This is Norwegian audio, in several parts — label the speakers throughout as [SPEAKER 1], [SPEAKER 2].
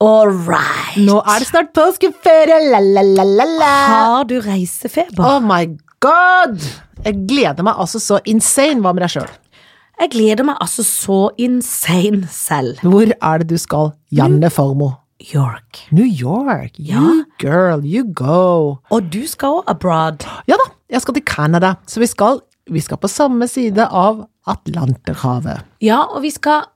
[SPEAKER 1] All right.
[SPEAKER 2] Nå er det snart påskeferie, la-la-la-la-la.
[SPEAKER 1] Har du reisefeber?
[SPEAKER 2] Oh my god! Jeg gleder meg altså så insane. Hva med deg sjøl?
[SPEAKER 1] Jeg gleder meg altså så insane selv.
[SPEAKER 2] Hvor er det du skal, Janne Formo?
[SPEAKER 1] York.
[SPEAKER 2] New York. You girl, you go.
[SPEAKER 1] Og du skal også abroad.
[SPEAKER 2] Ja da, jeg skal til Canada. Så vi skal, vi skal på samme side av Atlanterhavet.
[SPEAKER 1] Ja, og vi skal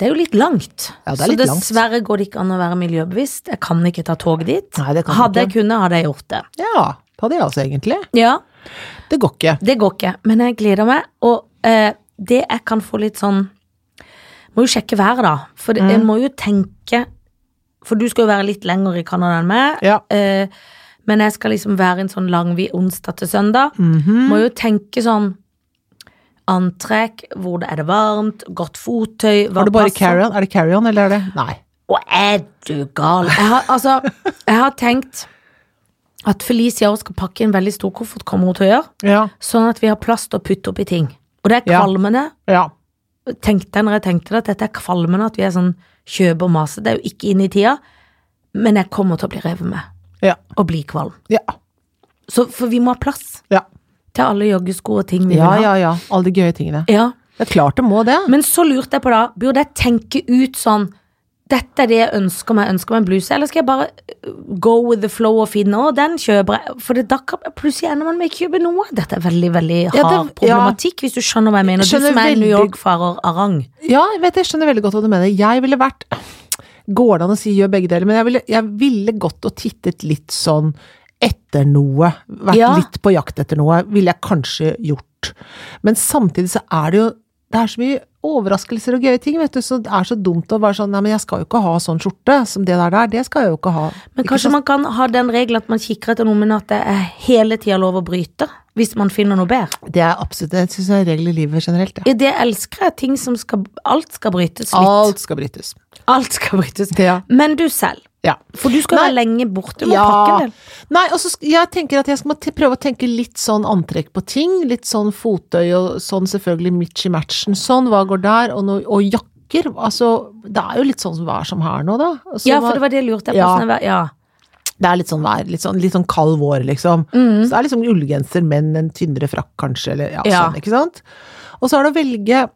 [SPEAKER 1] Det er jo litt langt.
[SPEAKER 2] Ja, det er litt
[SPEAKER 1] så
[SPEAKER 2] langt.
[SPEAKER 1] dessverre går det ikke an å være miljøbevisst. Jeg kan ikke ta tog dit.
[SPEAKER 2] Nei, det kan du ikke.
[SPEAKER 1] hadde jeg kunnet, hadde jeg gjort det.
[SPEAKER 2] Ja, hva det er altså egentlig?
[SPEAKER 1] Ja,
[SPEAKER 2] Det går ikke.
[SPEAKER 1] Det går ikke. Men jeg gleder meg. Og eh, det jeg kan få litt sånn Må jo sjekke været, da. For
[SPEAKER 2] Mm.
[SPEAKER 1] det, jeg må jo tenke For du skal jo være litt lenger i Canada enn meg.
[SPEAKER 2] Ja.
[SPEAKER 1] Eh, men jeg skal liksom være en sånn langvid onsdag til søndag.
[SPEAKER 2] Mhm.
[SPEAKER 1] Må jo tenke sånn Antrekk, hvor det er det varmt, godt fottøy hva
[SPEAKER 2] Har du bare
[SPEAKER 1] passer?
[SPEAKER 2] carry-on? Er det carry-on, eller er det Nei.
[SPEAKER 1] Og er du gal? Jeg har, altså, jeg har tenkt at Felicia også skal pakke en veldig stor koffert, kommer hun til å gjøre.
[SPEAKER 2] Ja.
[SPEAKER 1] Sånn at vi har plass til å putte oppi ting. Og det er
[SPEAKER 2] Ja.
[SPEAKER 1] kvalmende.
[SPEAKER 2] ja.
[SPEAKER 1] Tenkte jeg når jeg tenkte det, at dette er kvalmende, at vi er sånn kjøp og mase. Det er jo ikke inn i tida. Men jeg kommer til å bli revet med.
[SPEAKER 2] Ja.
[SPEAKER 1] Og bli kvalm.
[SPEAKER 2] Ja.
[SPEAKER 1] Så, for vi må ha plass
[SPEAKER 2] Ja,
[SPEAKER 1] til alle joggesko og ting vi
[SPEAKER 2] ja,
[SPEAKER 1] vil
[SPEAKER 2] ja.
[SPEAKER 1] ha.
[SPEAKER 2] ja. Alle de gøye tingene.
[SPEAKER 1] Ja.
[SPEAKER 2] Det er klart det må det.
[SPEAKER 1] Men så lurte jeg på da, burde jeg tenke ut sånn dette er det jeg ønsker meg, jeg ønsker meg en bluse, eller skal jeg bare øh, go with the flow og finne, å, den kjøper jeg, for det, da kan plutselig ender man med ikke kjøpe noe. Dette er veldig, veldig hard
[SPEAKER 2] Ja, det- ja.
[SPEAKER 1] problematikk, hvis du skjønner hva jeg mener.
[SPEAKER 2] Skjønner
[SPEAKER 1] du som er
[SPEAKER 2] veldig-
[SPEAKER 1] New York-farer arang.
[SPEAKER 2] Ja, jeg vet jeg skjønner veldig godt hva du mener. Jeg ville vært Går det an å si gjør begge deler? Men jeg ville, jeg ville gått og tittet litt sånn etter noe. Vært
[SPEAKER 1] Ja.
[SPEAKER 2] litt på jakt etter noe, ville jeg kanskje gjort. Men samtidig så er det jo det er så mye overraskelser og gøye ting, vet du. Så det er så dumt å være sånn Nei, men jeg skal jo ikke ha sånn skjorte som det der der. Det skal jeg jo ikke ha.
[SPEAKER 1] Men
[SPEAKER 2] Ikke
[SPEAKER 1] kanskje
[SPEAKER 2] sant?
[SPEAKER 1] man kan ha den regelen at man kikker etter noe, men at det er hele tida lov å bryte, hvis man finner noe bedre.
[SPEAKER 2] Det er absolutt Jeg syns det er en regel i livet generelt, jeg.
[SPEAKER 1] I det elsker jeg ting som skal Alt skal brytes litt.
[SPEAKER 2] Alt skal brytes.
[SPEAKER 1] Alt skal brytes.
[SPEAKER 2] Ja.
[SPEAKER 1] Men du selv.
[SPEAKER 2] ja.
[SPEAKER 1] For du skal
[SPEAKER 2] Nei.
[SPEAKER 1] være lenge borte. Du må pakke en del.
[SPEAKER 2] Nei, og så sk- jeg tenker at jeg skal må te- prøve å tenke litt sånn antrekk på ting. Litt sånn fottøy og sånn selvfølgelig mitch i matchen. Sånn, hva går der? Og, no, og jakker. Altså, det er jo litt sånn som vær som her nå, da. Og så
[SPEAKER 1] Ja,
[SPEAKER 2] hva-
[SPEAKER 1] for det var det jeg lurte på.
[SPEAKER 2] Ja.
[SPEAKER 1] sånn jeg var- Ja.
[SPEAKER 2] det er litt sånn vær. Litt sånn, litt sånn kald vår, liksom.
[SPEAKER 1] Mm.
[SPEAKER 2] Så det er liksom ullgenser, men en tynnere frakk, kanskje. Eller ja,
[SPEAKER 1] Ja.
[SPEAKER 2] sånn, ikke sant? Og så er det å velge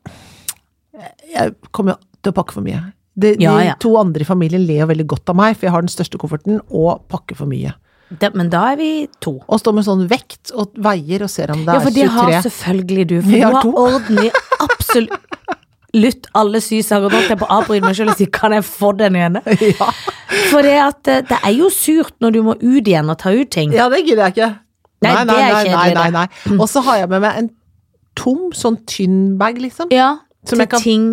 [SPEAKER 2] Jeg kommer jo til å pakke for mye. De,
[SPEAKER 1] Ja,
[SPEAKER 2] de
[SPEAKER 1] ja.
[SPEAKER 2] to andre i familien ler jo veldig godt av meg, for jeg har den største kofferten og pakker for mye.
[SPEAKER 1] Det, men da er vi to.
[SPEAKER 2] og står med sånn vekt og veier og ser om det
[SPEAKER 1] Ja, for
[SPEAKER 2] er
[SPEAKER 1] det har
[SPEAKER 2] 23.
[SPEAKER 1] selvfølgelig du. For
[SPEAKER 2] Vi
[SPEAKER 1] du
[SPEAKER 2] har
[SPEAKER 1] har
[SPEAKER 2] to.
[SPEAKER 1] orden i absolutt alle sysaker. Nå holdt jeg på å avbryte meg selv og si kan jeg få den ene?
[SPEAKER 2] Ja.
[SPEAKER 1] For det, at, eh, det er jo surt når du må ut igjen og ta ut ting.
[SPEAKER 2] ja, det gidder jeg ikke.
[SPEAKER 1] Nei, det er
[SPEAKER 2] nei, nei,
[SPEAKER 1] kjedelig,
[SPEAKER 2] nei, nei. Og så har jeg med meg en tom, sånn tynn bag, liksom,
[SPEAKER 1] Ja,
[SPEAKER 2] Som
[SPEAKER 1] til
[SPEAKER 2] jeg kan
[SPEAKER 1] ting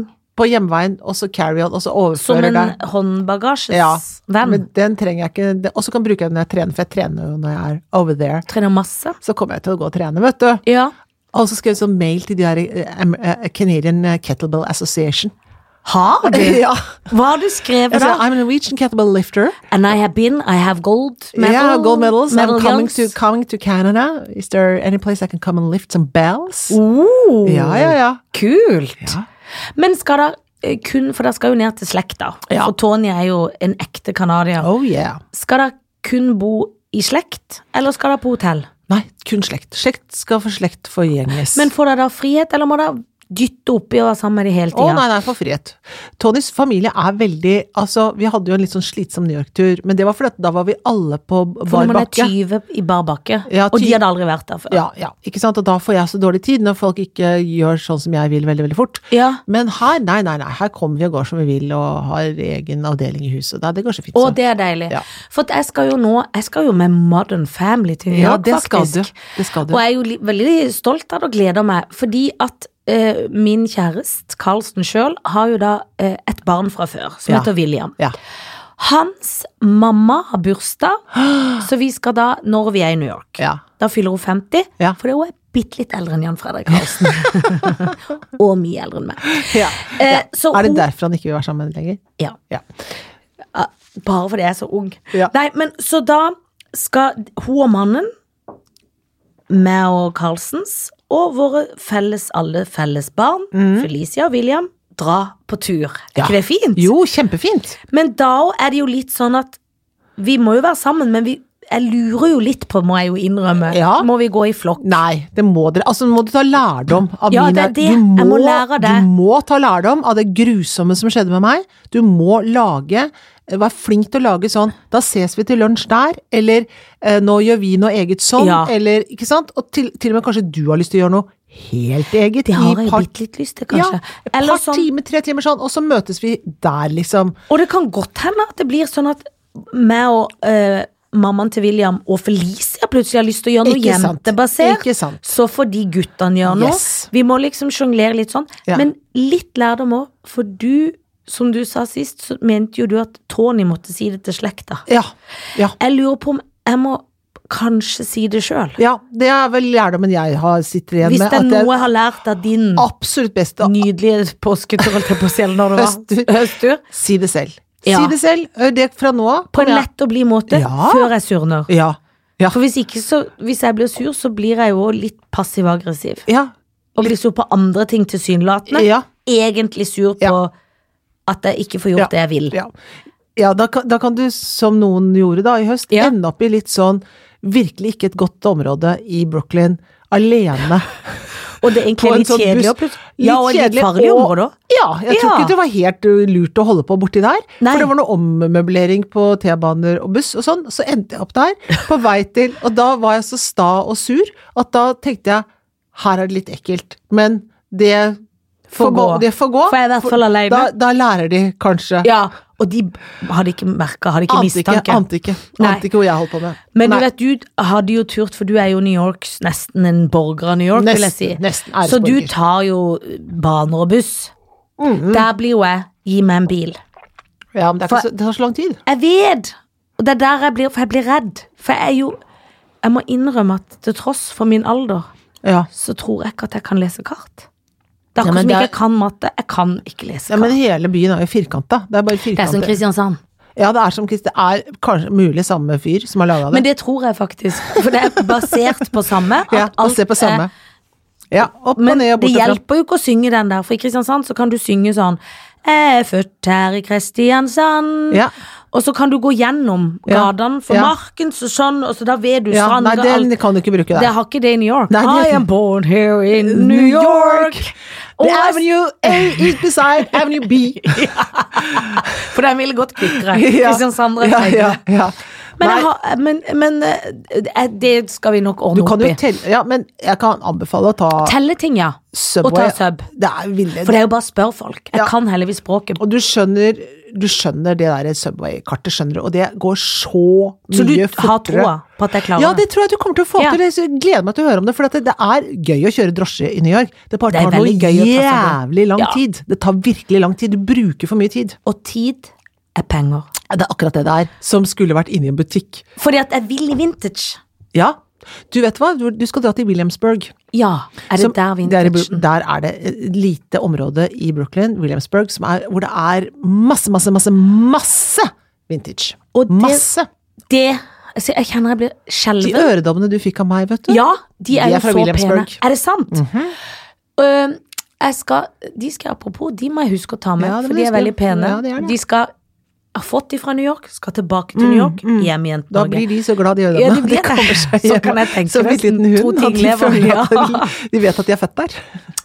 [SPEAKER 2] på hjemveien, og så carry-on, og så
[SPEAKER 1] som
[SPEAKER 2] overfører
[SPEAKER 1] en
[SPEAKER 2] der.
[SPEAKER 1] håndbagasjes
[SPEAKER 2] Ja,
[SPEAKER 1] venn.
[SPEAKER 2] men den trenger jeg ikke. det- Og så kan jeg bruke den når jeg trener, for jeg trener jo når jeg er over there.
[SPEAKER 1] Trener masse.
[SPEAKER 2] Så kommer jeg til å gå og trene, vet du.
[SPEAKER 1] Ja.
[SPEAKER 2] Og så skrev jeg sånn mail til de her eh, em- eh, Canadian Kettlebell Association.
[SPEAKER 1] Har du?
[SPEAKER 2] Ja.
[SPEAKER 1] Hva har du skrevet
[SPEAKER 2] Jeg sa,
[SPEAKER 1] da?
[SPEAKER 2] I'm a Norwegian kettlebell lifter.
[SPEAKER 1] And I have been, I have gold medal.
[SPEAKER 2] Yeah, gold medals. I'm coming
[SPEAKER 1] medallions.
[SPEAKER 2] to, coming to Canada. Is there any place I can come and lift some bells?
[SPEAKER 1] Oh,
[SPEAKER 2] Ja, ja, ja.
[SPEAKER 1] Kult.
[SPEAKER 2] Ja.
[SPEAKER 1] Men skal der eh, kun, for dere skal jo ned til slekta,
[SPEAKER 2] Ja.
[SPEAKER 1] for Tony er jo en ekte kanadier.
[SPEAKER 2] Oh yeah.
[SPEAKER 1] Skal dere kun bo i slekt, eller skal dere på hotell?
[SPEAKER 2] Nei, kun slekt. Slekt skal for slekt forgjenges.
[SPEAKER 1] Men får dere da frihet, eller må dere dytte oppi og være sammen med de hele
[SPEAKER 2] Å
[SPEAKER 1] tida?
[SPEAKER 2] nei, nei, for frihet. Tonys familie er veldig Altså, vi hadde jo en litt sånn slitsom New York-tur, men det var fordi at da var vi alle på
[SPEAKER 1] for
[SPEAKER 2] bar
[SPEAKER 1] når man er
[SPEAKER 2] bakke.
[SPEAKER 1] 20 i bar bakke,
[SPEAKER 2] Ja,
[SPEAKER 1] og de
[SPEAKER 2] tyv-
[SPEAKER 1] hadde aldri vært der før.
[SPEAKER 2] Ja, ja. Ikke sant? Og da får jeg så dårlig tid, når folk ikke gjør sånn som jeg vil veldig, veldig fort.
[SPEAKER 1] Ja.
[SPEAKER 2] Men her, nei, nei, nei. Her kommer vi og går som vi vil, og har egen avdeling i huset. Nei, det går så fint,
[SPEAKER 1] Å,
[SPEAKER 2] så.
[SPEAKER 1] det er deilig.
[SPEAKER 2] Ja.
[SPEAKER 1] For at jeg skal jo nå Jeg skal jo med Modern Family til New
[SPEAKER 2] Ja,
[SPEAKER 1] York,
[SPEAKER 2] det skal
[SPEAKER 1] faktisk.
[SPEAKER 2] du. Det skal du.
[SPEAKER 1] Og jeg er jo li- veldig stolt av det og gleder meg, fordi at eh, min kjæreste, Carlsen sjøl, har jo da eh, et barn fra før som
[SPEAKER 2] Ja.
[SPEAKER 1] heter William.
[SPEAKER 2] Ja.
[SPEAKER 1] Hans mamma har bursdag, så vi skal da, når vi er i New York
[SPEAKER 2] Ja.
[SPEAKER 1] Da fyller hun 50,
[SPEAKER 2] Ja.
[SPEAKER 1] fordi hun er bitte litt eldre enn Jan Fredrik Karlsen. og mye eldre enn meg.
[SPEAKER 2] Ja.
[SPEAKER 1] Eh, så
[SPEAKER 2] Er det
[SPEAKER 1] hun-
[SPEAKER 2] derfor han ikke vil være sammen lenger?
[SPEAKER 1] Ja.
[SPEAKER 2] Ja.
[SPEAKER 1] Ah, Bare fordi jeg er så ung.
[SPEAKER 2] Ja.
[SPEAKER 1] Nei, men så da skal hun og mannen, meg og Carlsens, og våre felles, alle felles barn, Felicia og William, dra på tur. Er
[SPEAKER 2] Mhm. Ja.
[SPEAKER 1] ikke det fint?
[SPEAKER 2] Jo, kjempefint.
[SPEAKER 1] Men da er det jo litt sånn at vi må jo være sammen, men vi, jeg lurer jo litt på, må jeg jo innrømme.
[SPEAKER 2] Ja.
[SPEAKER 1] Må vi gå i flokk?
[SPEAKER 2] Nei, det må dere. Altså, nå må du ta lærdom av
[SPEAKER 1] Ja,
[SPEAKER 2] mine
[SPEAKER 1] det er det.
[SPEAKER 2] Du
[SPEAKER 1] Jeg må lære av det.
[SPEAKER 2] Du må ta lærdom av det grusomme som skjedde med meg. Du må lage Vær flink til å lage sånn 'da ses vi til lunsj der', eller eh, 'nå gjør vi noe eget sånn',
[SPEAKER 1] Ja.
[SPEAKER 2] eller Ikke sant? Og til, til og med kanskje du har lyst til å gjøre noe helt eget.
[SPEAKER 1] Det har
[SPEAKER 2] i
[SPEAKER 1] jeg
[SPEAKER 2] par-
[SPEAKER 1] bitte litt lyst til, kanskje.
[SPEAKER 2] Ja, et
[SPEAKER 1] Eller
[SPEAKER 2] par
[SPEAKER 1] sånn-
[SPEAKER 2] timer, tre timer sånn, og så møtes vi der, liksom.
[SPEAKER 1] Og det kan godt hende at det blir sånn at meg og eh, mammaen til William og Felicia plutselig har lyst til å gjøre noe
[SPEAKER 2] Ikke sant.
[SPEAKER 1] jentebasert.
[SPEAKER 2] Ikke sant.
[SPEAKER 1] Så får de guttene gjøre noe.
[SPEAKER 2] Yes.
[SPEAKER 1] Vi må liksom sjonglere litt sånn.
[SPEAKER 2] Ja.
[SPEAKER 1] Men litt lærdom òg, for du, som du sa sist, så mente jo du at Tony måtte si det til slekta.
[SPEAKER 2] Ja. Ja.
[SPEAKER 1] Jeg lurer på om jeg må kanskje si det sjøl.
[SPEAKER 2] ja det er vel lærdommen jeg har sitter igjen
[SPEAKER 1] Hvis
[SPEAKER 2] med.
[SPEAKER 1] det er
[SPEAKER 2] at Ah, det er
[SPEAKER 1] noe jeg har lært av din
[SPEAKER 2] absolutt best å
[SPEAKER 1] nydelige påsketur, holdt jeg på å si, eller når det
[SPEAKER 2] Høsttur.
[SPEAKER 1] var høsttur,
[SPEAKER 2] si det selv.
[SPEAKER 1] Ja.
[SPEAKER 2] Si det selv. Ø, Det fra nå av.
[SPEAKER 1] på en
[SPEAKER 2] Kom igjen.
[SPEAKER 1] lett og blid måte,
[SPEAKER 2] Ja.
[SPEAKER 1] før jeg surner.
[SPEAKER 2] Ja. Ja.
[SPEAKER 1] For hvis ikke, så Hvis jeg blir sur, så blir jeg jo litt passiv-aggressiv.
[SPEAKER 2] Ja.
[SPEAKER 1] Og blir sur på andre ting tilsynelatende.
[SPEAKER 2] Ja.
[SPEAKER 1] Egentlig sur på
[SPEAKER 2] Ja.
[SPEAKER 1] at jeg ikke får gjort
[SPEAKER 2] Ja.
[SPEAKER 1] det jeg vil.
[SPEAKER 2] ja. ja da, kan, da kan du, som noen gjorde da i høst,
[SPEAKER 1] Ja.
[SPEAKER 2] ende opp i litt sånn virkelig ikke et godt område i Brooklyn. Alene.
[SPEAKER 1] Og det er
[SPEAKER 2] På
[SPEAKER 1] egentlig
[SPEAKER 2] en
[SPEAKER 1] litt
[SPEAKER 2] sånn
[SPEAKER 1] kjedelig.
[SPEAKER 2] buss.
[SPEAKER 1] og plutselig- Ja, og litt
[SPEAKER 2] kjedelig,
[SPEAKER 1] farlig
[SPEAKER 2] og-
[SPEAKER 1] område òg.
[SPEAKER 2] Ja, jeg tror
[SPEAKER 1] Ja.
[SPEAKER 2] ikke det var helt ø, lurt å holde på borti der.
[SPEAKER 1] Nei.
[SPEAKER 2] For det var noe ommøblering på T-baner og buss og sånn. Så endte jeg opp der, på vei til Og da var jeg så sta og sur at da tenkte jeg her er det litt ekkelt. Men det
[SPEAKER 1] Får
[SPEAKER 2] får gå.
[SPEAKER 1] gå.
[SPEAKER 2] Det får gå.
[SPEAKER 1] For jeg er i hvert fall alene.
[SPEAKER 2] Da, da lærer de kanskje.
[SPEAKER 1] Ja, og de hadde ikke merka, hadde ikke
[SPEAKER 2] Ante ikke,
[SPEAKER 1] mistanke.
[SPEAKER 2] ante ikke.
[SPEAKER 1] Nei.
[SPEAKER 2] Ante ikke hvor jeg holdt på med.
[SPEAKER 1] Men
[SPEAKER 2] Nei.
[SPEAKER 1] du vet, du hadde jo turt, for du er jo New Yorks, nesten en borger av New York, vil jeg si.
[SPEAKER 2] Nesten, nesten
[SPEAKER 1] Så du
[SPEAKER 2] æresborger.
[SPEAKER 1] tar jo baner og buss.
[SPEAKER 2] Mhm.
[SPEAKER 1] Der blir jo jeg gi meg en bil.
[SPEAKER 2] Ja, men det, er ikke så, det tar så lang tid.
[SPEAKER 1] Jeg vet! Og det er der jeg blir, for jeg blir redd. For jeg er jo Jeg må innrømme at til tross for min alder,
[SPEAKER 2] Ja.
[SPEAKER 1] så tror jeg ikke at jeg kan lese kart. Det er
[SPEAKER 2] Ja,
[SPEAKER 1] akkurat
[SPEAKER 2] men
[SPEAKER 1] som
[SPEAKER 2] det
[SPEAKER 1] ikke
[SPEAKER 2] er-
[SPEAKER 1] jeg kan matte. Jeg kan ikke lese
[SPEAKER 2] ja, men
[SPEAKER 1] kart.
[SPEAKER 2] hele byen er jo firkanta. Det er bare
[SPEAKER 1] Det er sånn som
[SPEAKER 2] firkanter.
[SPEAKER 1] Kristiansand.
[SPEAKER 2] Ja, det er som Chris. Det er kanskje mulig samme fyr som har laga det.
[SPEAKER 1] Men det tror jeg faktisk. For det er basert på samme. at
[SPEAKER 2] ja, og
[SPEAKER 1] alt
[SPEAKER 2] se på samme. Sånn
[SPEAKER 1] er-
[SPEAKER 2] Ja, opp og
[SPEAKER 1] Men
[SPEAKER 2] ned og
[SPEAKER 1] det
[SPEAKER 2] bort og fram.
[SPEAKER 1] hjelper jo ikke å synge den der, for i Kristiansand så kan du synge sånn Jeg er født her i Kristiansand.
[SPEAKER 2] Ja.
[SPEAKER 1] Og så kan du gå gjennom
[SPEAKER 2] Ja.
[SPEAKER 1] gatene, for
[SPEAKER 2] Ja.
[SPEAKER 1] marken så sånn, og så da vet du
[SPEAKER 2] Ja,
[SPEAKER 1] strand
[SPEAKER 2] nei,
[SPEAKER 1] og alt.
[SPEAKER 2] den kan du ikke bruke
[SPEAKER 1] Det
[SPEAKER 2] der.
[SPEAKER 1] har ikke det i New York.
[SPEAKER 2] Nei, det-
[SPEAKER 1] I am born here in New York. Og
[SPEAKER 2] The
[SPEAKER 1] jeg-
[SPEAKER 2] avenue A is beside avenue B.
[SPEAKER 1] For den ville gått kvikkere.
[SPEAKER 2] Ja.
[SPEAKER 1] Kristiansand rett
[SPEAKER 2] ja, ja,
[SPEAKER 1] egne.
[SPEAKER 2] ja.
[SPEAKER 1] Men, jeg
[SPEAKER 2] Nei.
[SPEAKER 1] har, men, men eh, det skal vi nok ordne
[SPEAKER 2] Du kan
[SPEAKER 1] opp
[SPEAKER 2] jo
[SPEAKER 1] i.
[SPEAKER 2] telle Ja, men jeg kan anbefale å ta
[SPEAKER 1] Telle ting, ja.
[SPEAKER 2] Subway.
[SPEAKER 1] Og ta sub.
[SPEAKER 2] Det er ville
[SPEAKER 1] For det er jo bare å spørre folk. Jeg
[SPEAKER 2] Ja.
[SPEAKER 1] kan heldigvis språket.
[SPEAKER 2] Og du skjønner, du skjønner det der Subway-kartet, skjønner du. Og det går så mye
[SPEAKER 1] Så du har
[SPEAKER 2] fortere.
[SPEAKER 1] troa på at jeg klarer
[SPEAKER 2] Ja, det tror jeg du kommer til å få
[SPEAKER 1] Ja.
[SPEAKER 2] til. Jeg gleder meg til å høre om det. For at det, det er gøy å kjøre drosje i New York. Det bare
[SPEAKER 1] Det er
[SPEAKER 2] tar noe
[SPEAKER 1] veldig gøy å ta seg
[SPEAKER 2] jævlig lang
[SPEAKER 1] Ja.
[SPEAKER 2] tid. Det tar virkelig lang tid. Du bruker for mye tid.
[SPEAKER 1] Og tid er penger.
[SPEAKER 2] Ja, Det er akkurat det det er. Som skulle vært inne i en butikk.
[SPEAKER 1] Fordi at jeg vil i vintage.
[SPEAKER 2] Ja. Du vet hva, du, du skal dra til Williamsburg.
[SPEAKER 1] Ja, er det
[SPEAKER 2] Som-
[SPEAKER 1] der
[SPEAKER 2] det er i
[SPEAKER 1] vintagen?
[SPEAKER 2] Bru- der er det et lite område i Brooklyn, Williamsburg, som er, hvor det er masse, masse, masse, masse vintage.
[SPEAKER 1] Og det-
[SPEAKER 2] masse.
[SPEAKER 1] Det altså, Jeg kjenner jeg blir
[SPEAKER 2] De
[SPEAKER 1] skjelven.
[SPEAKER 2] øredobbene du fikk av meg, vet du.
[SPEAKER 1] Ja, de
[SPEAKER 2] De
[SPEAKER 1] er,
[SPEAKER 2] er
[SPEAKER 1] jo
[SPEAKER 2] fra
[SPEAKER 1] så pene.
[SPEAKER 2] Williamsburg. Mhm.
[SPEAKER 1] Er det sant? Øh, jeg skal, de skal apropos, de må jeg huske å ta med,
[SPEAKER 2] Ja, det må
[SPEAKER 1] for
[SPEAKER 2] du
[SPEAKER 1] de er
[SPEAKER 2] huske.
[SPEAKER 1] veldig pene.
[SPEAKER 2] Ja, det er det.
[SPEAKER 1] De skal ha fått de fra New York, skal tilbake til New York, hjem igjen
[SPEAKER 2] mm.
[SPEAKER 1] til
[SPEAKER 2] Da
[SPEAKER 1] Norge.
[SPEAKER 2] blir de så glad, de øredobbene.
[SPEAKER 1] Ja, de blir det.
[SPEAKER 2] kommer seg
[SPEAKER 1] Så
[SPEAKER 2] hjem.
[SPEAKER 1] kan jeg tenke
[SPEAKER 2] Som
[SPEAKER 1] meg
[SPEAKER 2] en liten
[SPEAKER 1] sånn,
[SPEAKER 2] hund.
[SPEAKER 1] to
[SPEAKER 2] at
[SPEAKER 1] ting
[SPEAKER 2] de,
[SPEAKER 1] lever,
[SPEAKER 2] føler at
[SPEAKER 1] ja.
[SPEAKER 2] de, de vet at de er født der.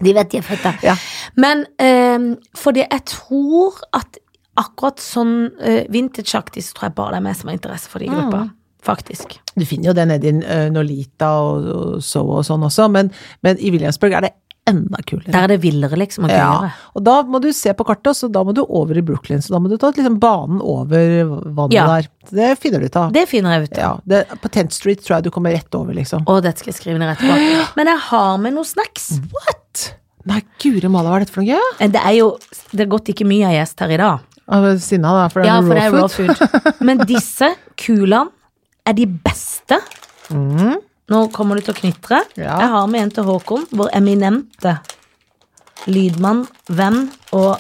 [SPEAKER 1] De vet de er født der.
[SPEAKER 2] Ja.
[SPEAKER 1] Men øh, fordi jeg tror at akkurat sånn øh, vintage-aktig, så tror jeg bare det er meg som har interesse
[SPEAKER 2] Mm.
[SPEAKER 1] for de gruppa. Faktisk.
[SPEAKER 2] Du finner jo det nede i eh, Nolita og, og så og sånn også, men, men i Williamsburg er det enda kulere.
[SPEAKER 1] Der er det villere, liksom. Man kan
[SPEAKER 2] Ja,
[SPEAKER 1] gjøre.
[SPEAKER 2] og da må du se på kartet, og så da må du over i Brooklyn. Så da må du ta liksom banen over vannet
[SPEAKER 1] Ja.
[SPEAKER 2] der. Så Det finner du ut av.
[SPEAKER 1] Det finner jeg ut.
[SPEAKER 2] Ja, det, på Tent Street tror jeg du kommer rett over, liksom.
[SPEAKER 1] Og dette skal jeg skrive ned etterpå. Men jeg har med noen snacks.
[SPEAKER 2] Mm. What? Nei, guri malla, hva er dette for noe? Ja,
[SPEAKER 1] Eh, Det er jo det er godt ikke mye er gjest her i dag.
[SPEAKER 2] av Sinna, da, for det er
[SPEAKER 1] Ja,
[SPEAKER 2] noe
[SPEAKER 1] for det er
[SPEAKER 2] raw
[SPEAKER 1] raw
[SPEAKER 2] food.
[SPEAKER 1] food. Men disse kulene er de beste. Nå kommer du til å knitre.
[SPEAKER 2] Mm. Ja.
[SPEAKER 1] Jeg har med en til Håkon, vår eminente lydmann, venn og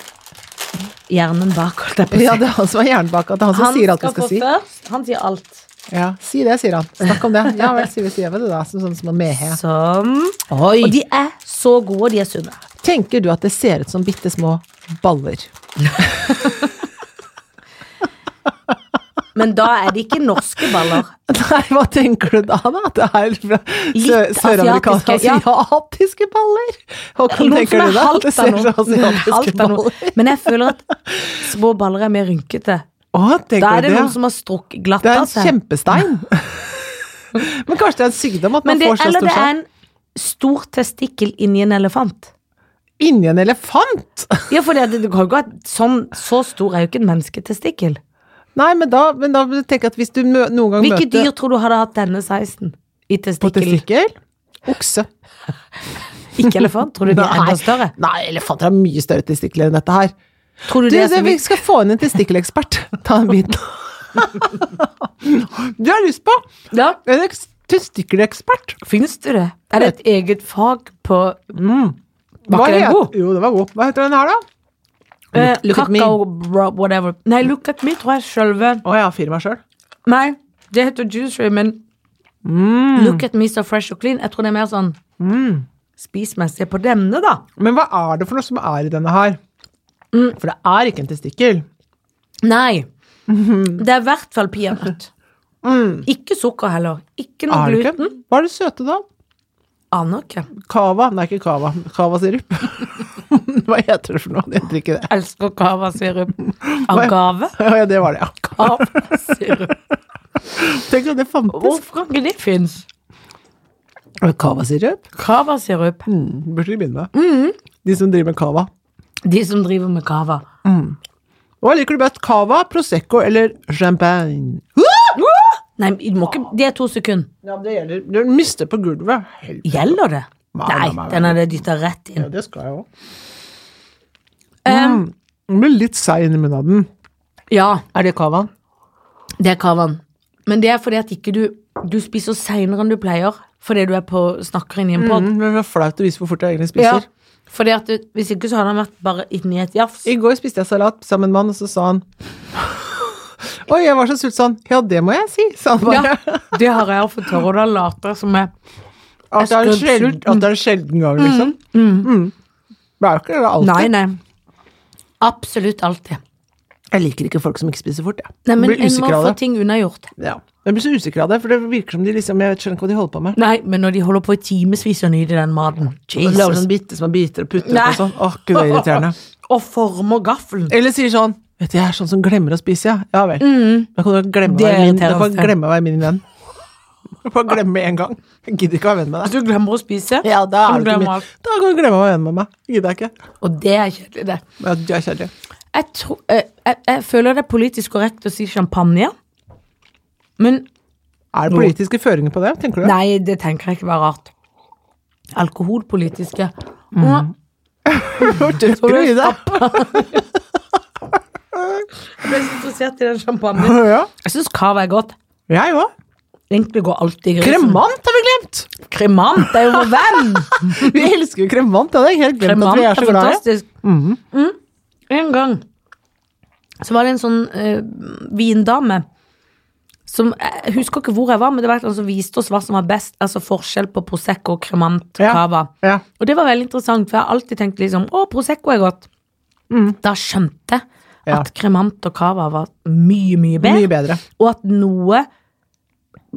[SPEAKER 1] hjernen bak, holdt jeg på å si.
[SPEAKER 2] Ja, det er han som er jernbaka, det er han som sier alt du skal
[SPEAKER 1] få
[SPEAKER 2] si.
[SPEAKER 1] først. Han sier alt.
[SPEAKER 2] Ja, si det, sier han. Snakk om det. Ja vel, sier vi sier vi det da, som sånn som en mehe.
[SPEAKER 1] Sånn.
[SPEAKER 2] Oi!
[SPEAKER 1] Og de er så gode, og de er sunne.
[SPEAKER 2] tenker du at det ser ut som bitte små baller.
[SPEAKER 1] Men da er det ikke norske baller.
[SPEAKER 2] Nei, hva tenker du da, da? At det er fra sø-
[SPEAKER 1] Litt
[SPEAKER 2] søramerikanske
[SPEAKER 1] asiatiske, ja.
[SPEAKER 2] asiatiske baller? Håkon,
[SPEAKER 1] Noen
[SPEAKER 2] tenker
[SPEAKER 1] som er
[SPEAKER 2] du da? At
[SPEAKER 1] halvt
[SPEAKER 2] det ser ut
[SPEAKER 1] av
[SPEAKER 2] som
[SPEAKER 1] noe.
[SPEAKER 2] asiatiske
[SPEAKER 1] Halvt av noe.
[SPEAKER 2] baller?
[SPEAKER 1] Men jeg føler at små baller er mer rynkete.
[SPEAKER 2] Å,
[SPEAKER 1] Da
[SPEAKER 2] tenker
[SPEAKER 1] er
[SPEAKER 2] du
[SPEAKER 1] det
[SPEAKER 2] det?
[SPEAKER 1] noen som har strukket glatt altså.
[SPEAKER 2] Det er
[SPEAKER 1] av
[SPEAKER 2] en
[SPEAKER 1] seg.
[SPEAKER 2] kjempestein. Men kanskje det er en sykdom at man
[SPEAKER 1] Men det,
[SPEAKER 2] får så
[SPEAKER 1] eller
[SPEAKER 2] stor
[SPEAKER 1] det er
[SPEAKER 2] stein?
[SPEAKER 1] en stor testikkel inni en elefant.
[SPEAKER 2] Inni en elefant!
[SPEAKER 1] Ja, for det, det kan jo ikke være sånn, så stor er jo ikke en mennesketestikkel.
[SPEAKER 2] Nei, men da, men da tenker jeg at hvis du mø noen gang
[SPEAKER 1] Hvilke
[SPEAKER 2] møter
[SPEAKER 1] dyr tror du hadde hatt denne sizen i
[SPEAKER 2] på
[SPEAKER 1] testikkel?
[SPEAKER 2] testikkel Okse.
[SPEAKER 1] Ikke elefant? Tror du de er
[SPEAKER 2] Nei.
[SPEAKER 1] enda større?
[SPEAKER 2] Nei, elefanter har mye større testikler enn dette her.
[SPEAKER 1] Tror du
[SPEAKER 2] Du,
[SPEAKER 1] det er
[SPEAKER 2] det,
[SPEAKER 1] så
[SPEAKER 2] vi
[SPEAKER 1] mye?
[SPEAKER 2] skal få inn en testikkelekspert. Ta den biten. du har lyst på
[SPEAKER 1] Ja,
[SPEAKER 2] en eks- testikkelekspert.
[SPEAKER 1] finnes det det? Er det et eget fag på Var ikke den
[SPEAKER 2] het-
[SPEAKER 1] god?
[SPEAKER 2] Jo, den var god. Hva heter den her, da?
[SPEAKER 1] eh,
[SPEAKER 2] Look at me.
[SPEAKER 1] kakao, bro, whatever? Nei, look at me tror jeg sjølve
[SPEAKER 2] Å, jeg har fire meg sjøl.
[SPEAKER 1] Nei, det heter juicery, men look at me so fresh and clean. Jeg tror det er mer sånn spismessig på denne, da.
[SPEAKER 2] Men hva er det for noe som er i denne her?
[SPEAKER 1] Mm.
[SPEAKER 2] For det er ikke en testikkel.
[SPEAKER 1] Nei. Det er i hvert fall peanøtt. Ikke sukker heller. Ikke noe
[SPEAKER 2] Er det
[SPEAKER 1] gluten.
[SPEAKER 2] ikke? Hva er det søte, da?
[SPEAKER 1] Aner ikke.
[SPEAKER 2] Cava? Nei, ikke cava. Cavasirup. hva heter det for noe? Det heter ikke det.
[SPEAKER 1] Elsker cava-sirup. Agave.
[SPEAKER 2] Ja, det var det, ja.
[SPEAKER 1] Cava-sirup.
[SPEAKER 2] Tenk om det fantes.
[SPEAKER 1] Hvorfor kan ikke det finnes?
[SPEAKER 2] Cavasirup?
[SPEAKER 1] Cava-sirup.
[SPEAKER 2] Mm, burde vi begynne med. De som driver med cava.
[SPEAKER 1] De som driver med cava.
[SPEAKER 2] Hva liker du best? Cava, Prosecco eller champagne?
[SPEAKER 1] Nei, du må ikke Det er to sekunder.
[SPEAKER 2] Ja, det gjelder. Du mister på gulvet. Helvete.
[SPEAKER 1] Gjelder det?
[SPEAKER 2] Nei,
[SPEAKER 1] Nei,
[SPEAKER 2] nei, nei,
[SPEAKER 1] den er det dytta rett inn.
[SPEAKER 2] Ja, det skal jeg òg. Mm.
[SPEAKER 1] Um,
[SPEAKER 2] Den blir litt seig inni munnen av den.
[SPEAKER 1] ja,
[SPEAKER 2] Er det cavaen?
[SPEAKER 1] det er cavaen. Men det er fordi at ikke du Du spiser seinere enn du pleier fordi du er på snakker inni en pod.
[SPEAKER 2] Mm, det er flaut å vise hvor fort jeg egentlig
[SPEAKER 1] Ja.
[SPEAKER 2] spiser.
[SPEAKER 1] Fordi at du, Hvis ikke så hadde han vært bare inni et jafs.
[SPEAKER 2] I går spiste jeg salat sammen med han, og så sa han Oi, jeg var så sulten, sa han. Ja, det må jeg si, sa han bare.
[SPEAKER 1] Ja, det har jeg fått høre, og da later jeg som jeg
[SPEAKER 2] At, det er en
[SPEAKER 1] Jeg skulle-
[SPEAKER 2] sjelden, at det er en sjelden gang, liksom. Mm. Det er jo ikke det alltid.
[SPEAKER 1] Nei, nei. Absolutt alltid.
[SPEAKER 2] Jeg liker ikke folk som ikke spiser fort, jeg.
[SPEAKER 1] Nei, men
[SPEAKER 2] jeg blir
[SPEAKER 1] en må
[SPEAKER 2] usikker av
[SPEAKER 1] få
[SPEAKER 2] det.
[SPEAKER 1] ting unnagjort.
[SPEAKER 2] Ja. Jeg blir så usikker av det, for det virker som de liksom Jeg skjønner ikke hva de holder på med.
[SPEAKER 1] Nei, men når de holder på i timevis og nyter den maten
[SPEAKER 2] Og lager
[SPEAKER 1] Jesus.
[SPEAKER 2] sånn bitte små biter og putter
[SPEAKER 1] Nei.
[SPEAKER 2] opp og sånn. Åh, gud, det er irriterende.
[SPEAKER 1] Og former gaffelen.
[SPEAKER 2] Eller sier sånn Vet du, jeg er sånn som glemmer å spise, ja. Ja vel. Da kan du glemme å
[SPEAKER 1] Mm. Det er
[SPEAKER 2] være min, da kan
[SPEAKER 1] irriterende.
[SPEAKER 2] du glemme å være min venn. Du kan glemme med en gang. Jeg gidder ikke å være venn med deg.
[SPEAKER 1] Du glemmer å spise,
[SPEAKER 2] Ja, da
[SPEAKER 1] Kan
[SPEAKER 2] er du ikke
[SPEAKER 1] glemme
[SPEAKER 2] min.
[SPEAKER 1] alt.
[SPEAKER 2] Da kan du glemme å være venn med meg. Jeg Gidder jeg ikke.
[SPEAKER 1] og det er kjedelig, det.
[SPEAKER 2] Ja, du er kjedelig.
[SPEAKER 1] Jeg, tror- eh, jeg, jeg føler det er politisk korrekt å si champagne, men
[SPEAKER 2] Er det politiske føringer på det, tenker du?
[SPEAKER 1] nei, det tenker jeg ikke var rart. Alkoholpolitiske. Åh,
[SPEAKER 2] Tørker du i det?
[SPEAKER 1] Jeg ble så interessert i den champagnen.
[SPEAKER 2] Ja.
[SPEAKER 1] Jeg syns cava er godt.
[SPEAKER 2] Jeg òg.
[SPEAKER 1] Egentlig går alt i grisen.
[SPEAKER 2] Kremant har vi glemt!
[SPEAKER 1] Kremant er jo vår venn!
[SPEAKER 2] Vi elsker jo kremant. Det hadde jeg helt glemt
[SPEAKER 1] Kremant
[SPEAKER 2] at vi
[SPEAKER 1] er
[SPEAKER 2] er så glad i.
[SPEAKER 1] fantastisk. Mm. En gang så var det en sånn eh, vindame som Jeg husker ikke hvor jeg var, men det var et eller annet som viste oss hva som var best. Altså forskjell på Prosecco, Cremant,
[SPEAKER 2] Ja.
[SPEAKER 1] Cava.
[SPEAKER 2] Ja.
[SPEAKER 1] Og det var veldig interessant, for jeg har alltid tenkt liksom Å, Prosecco er godt. Da skjønte jeg
[SPEAKER 2] Mm. Ja.
[SPEAKER 1] at Cremant og Cava var mye, mye bedre.
[SPEAKER 2] Mye bedre.
[SPEAKER 1] Og at noe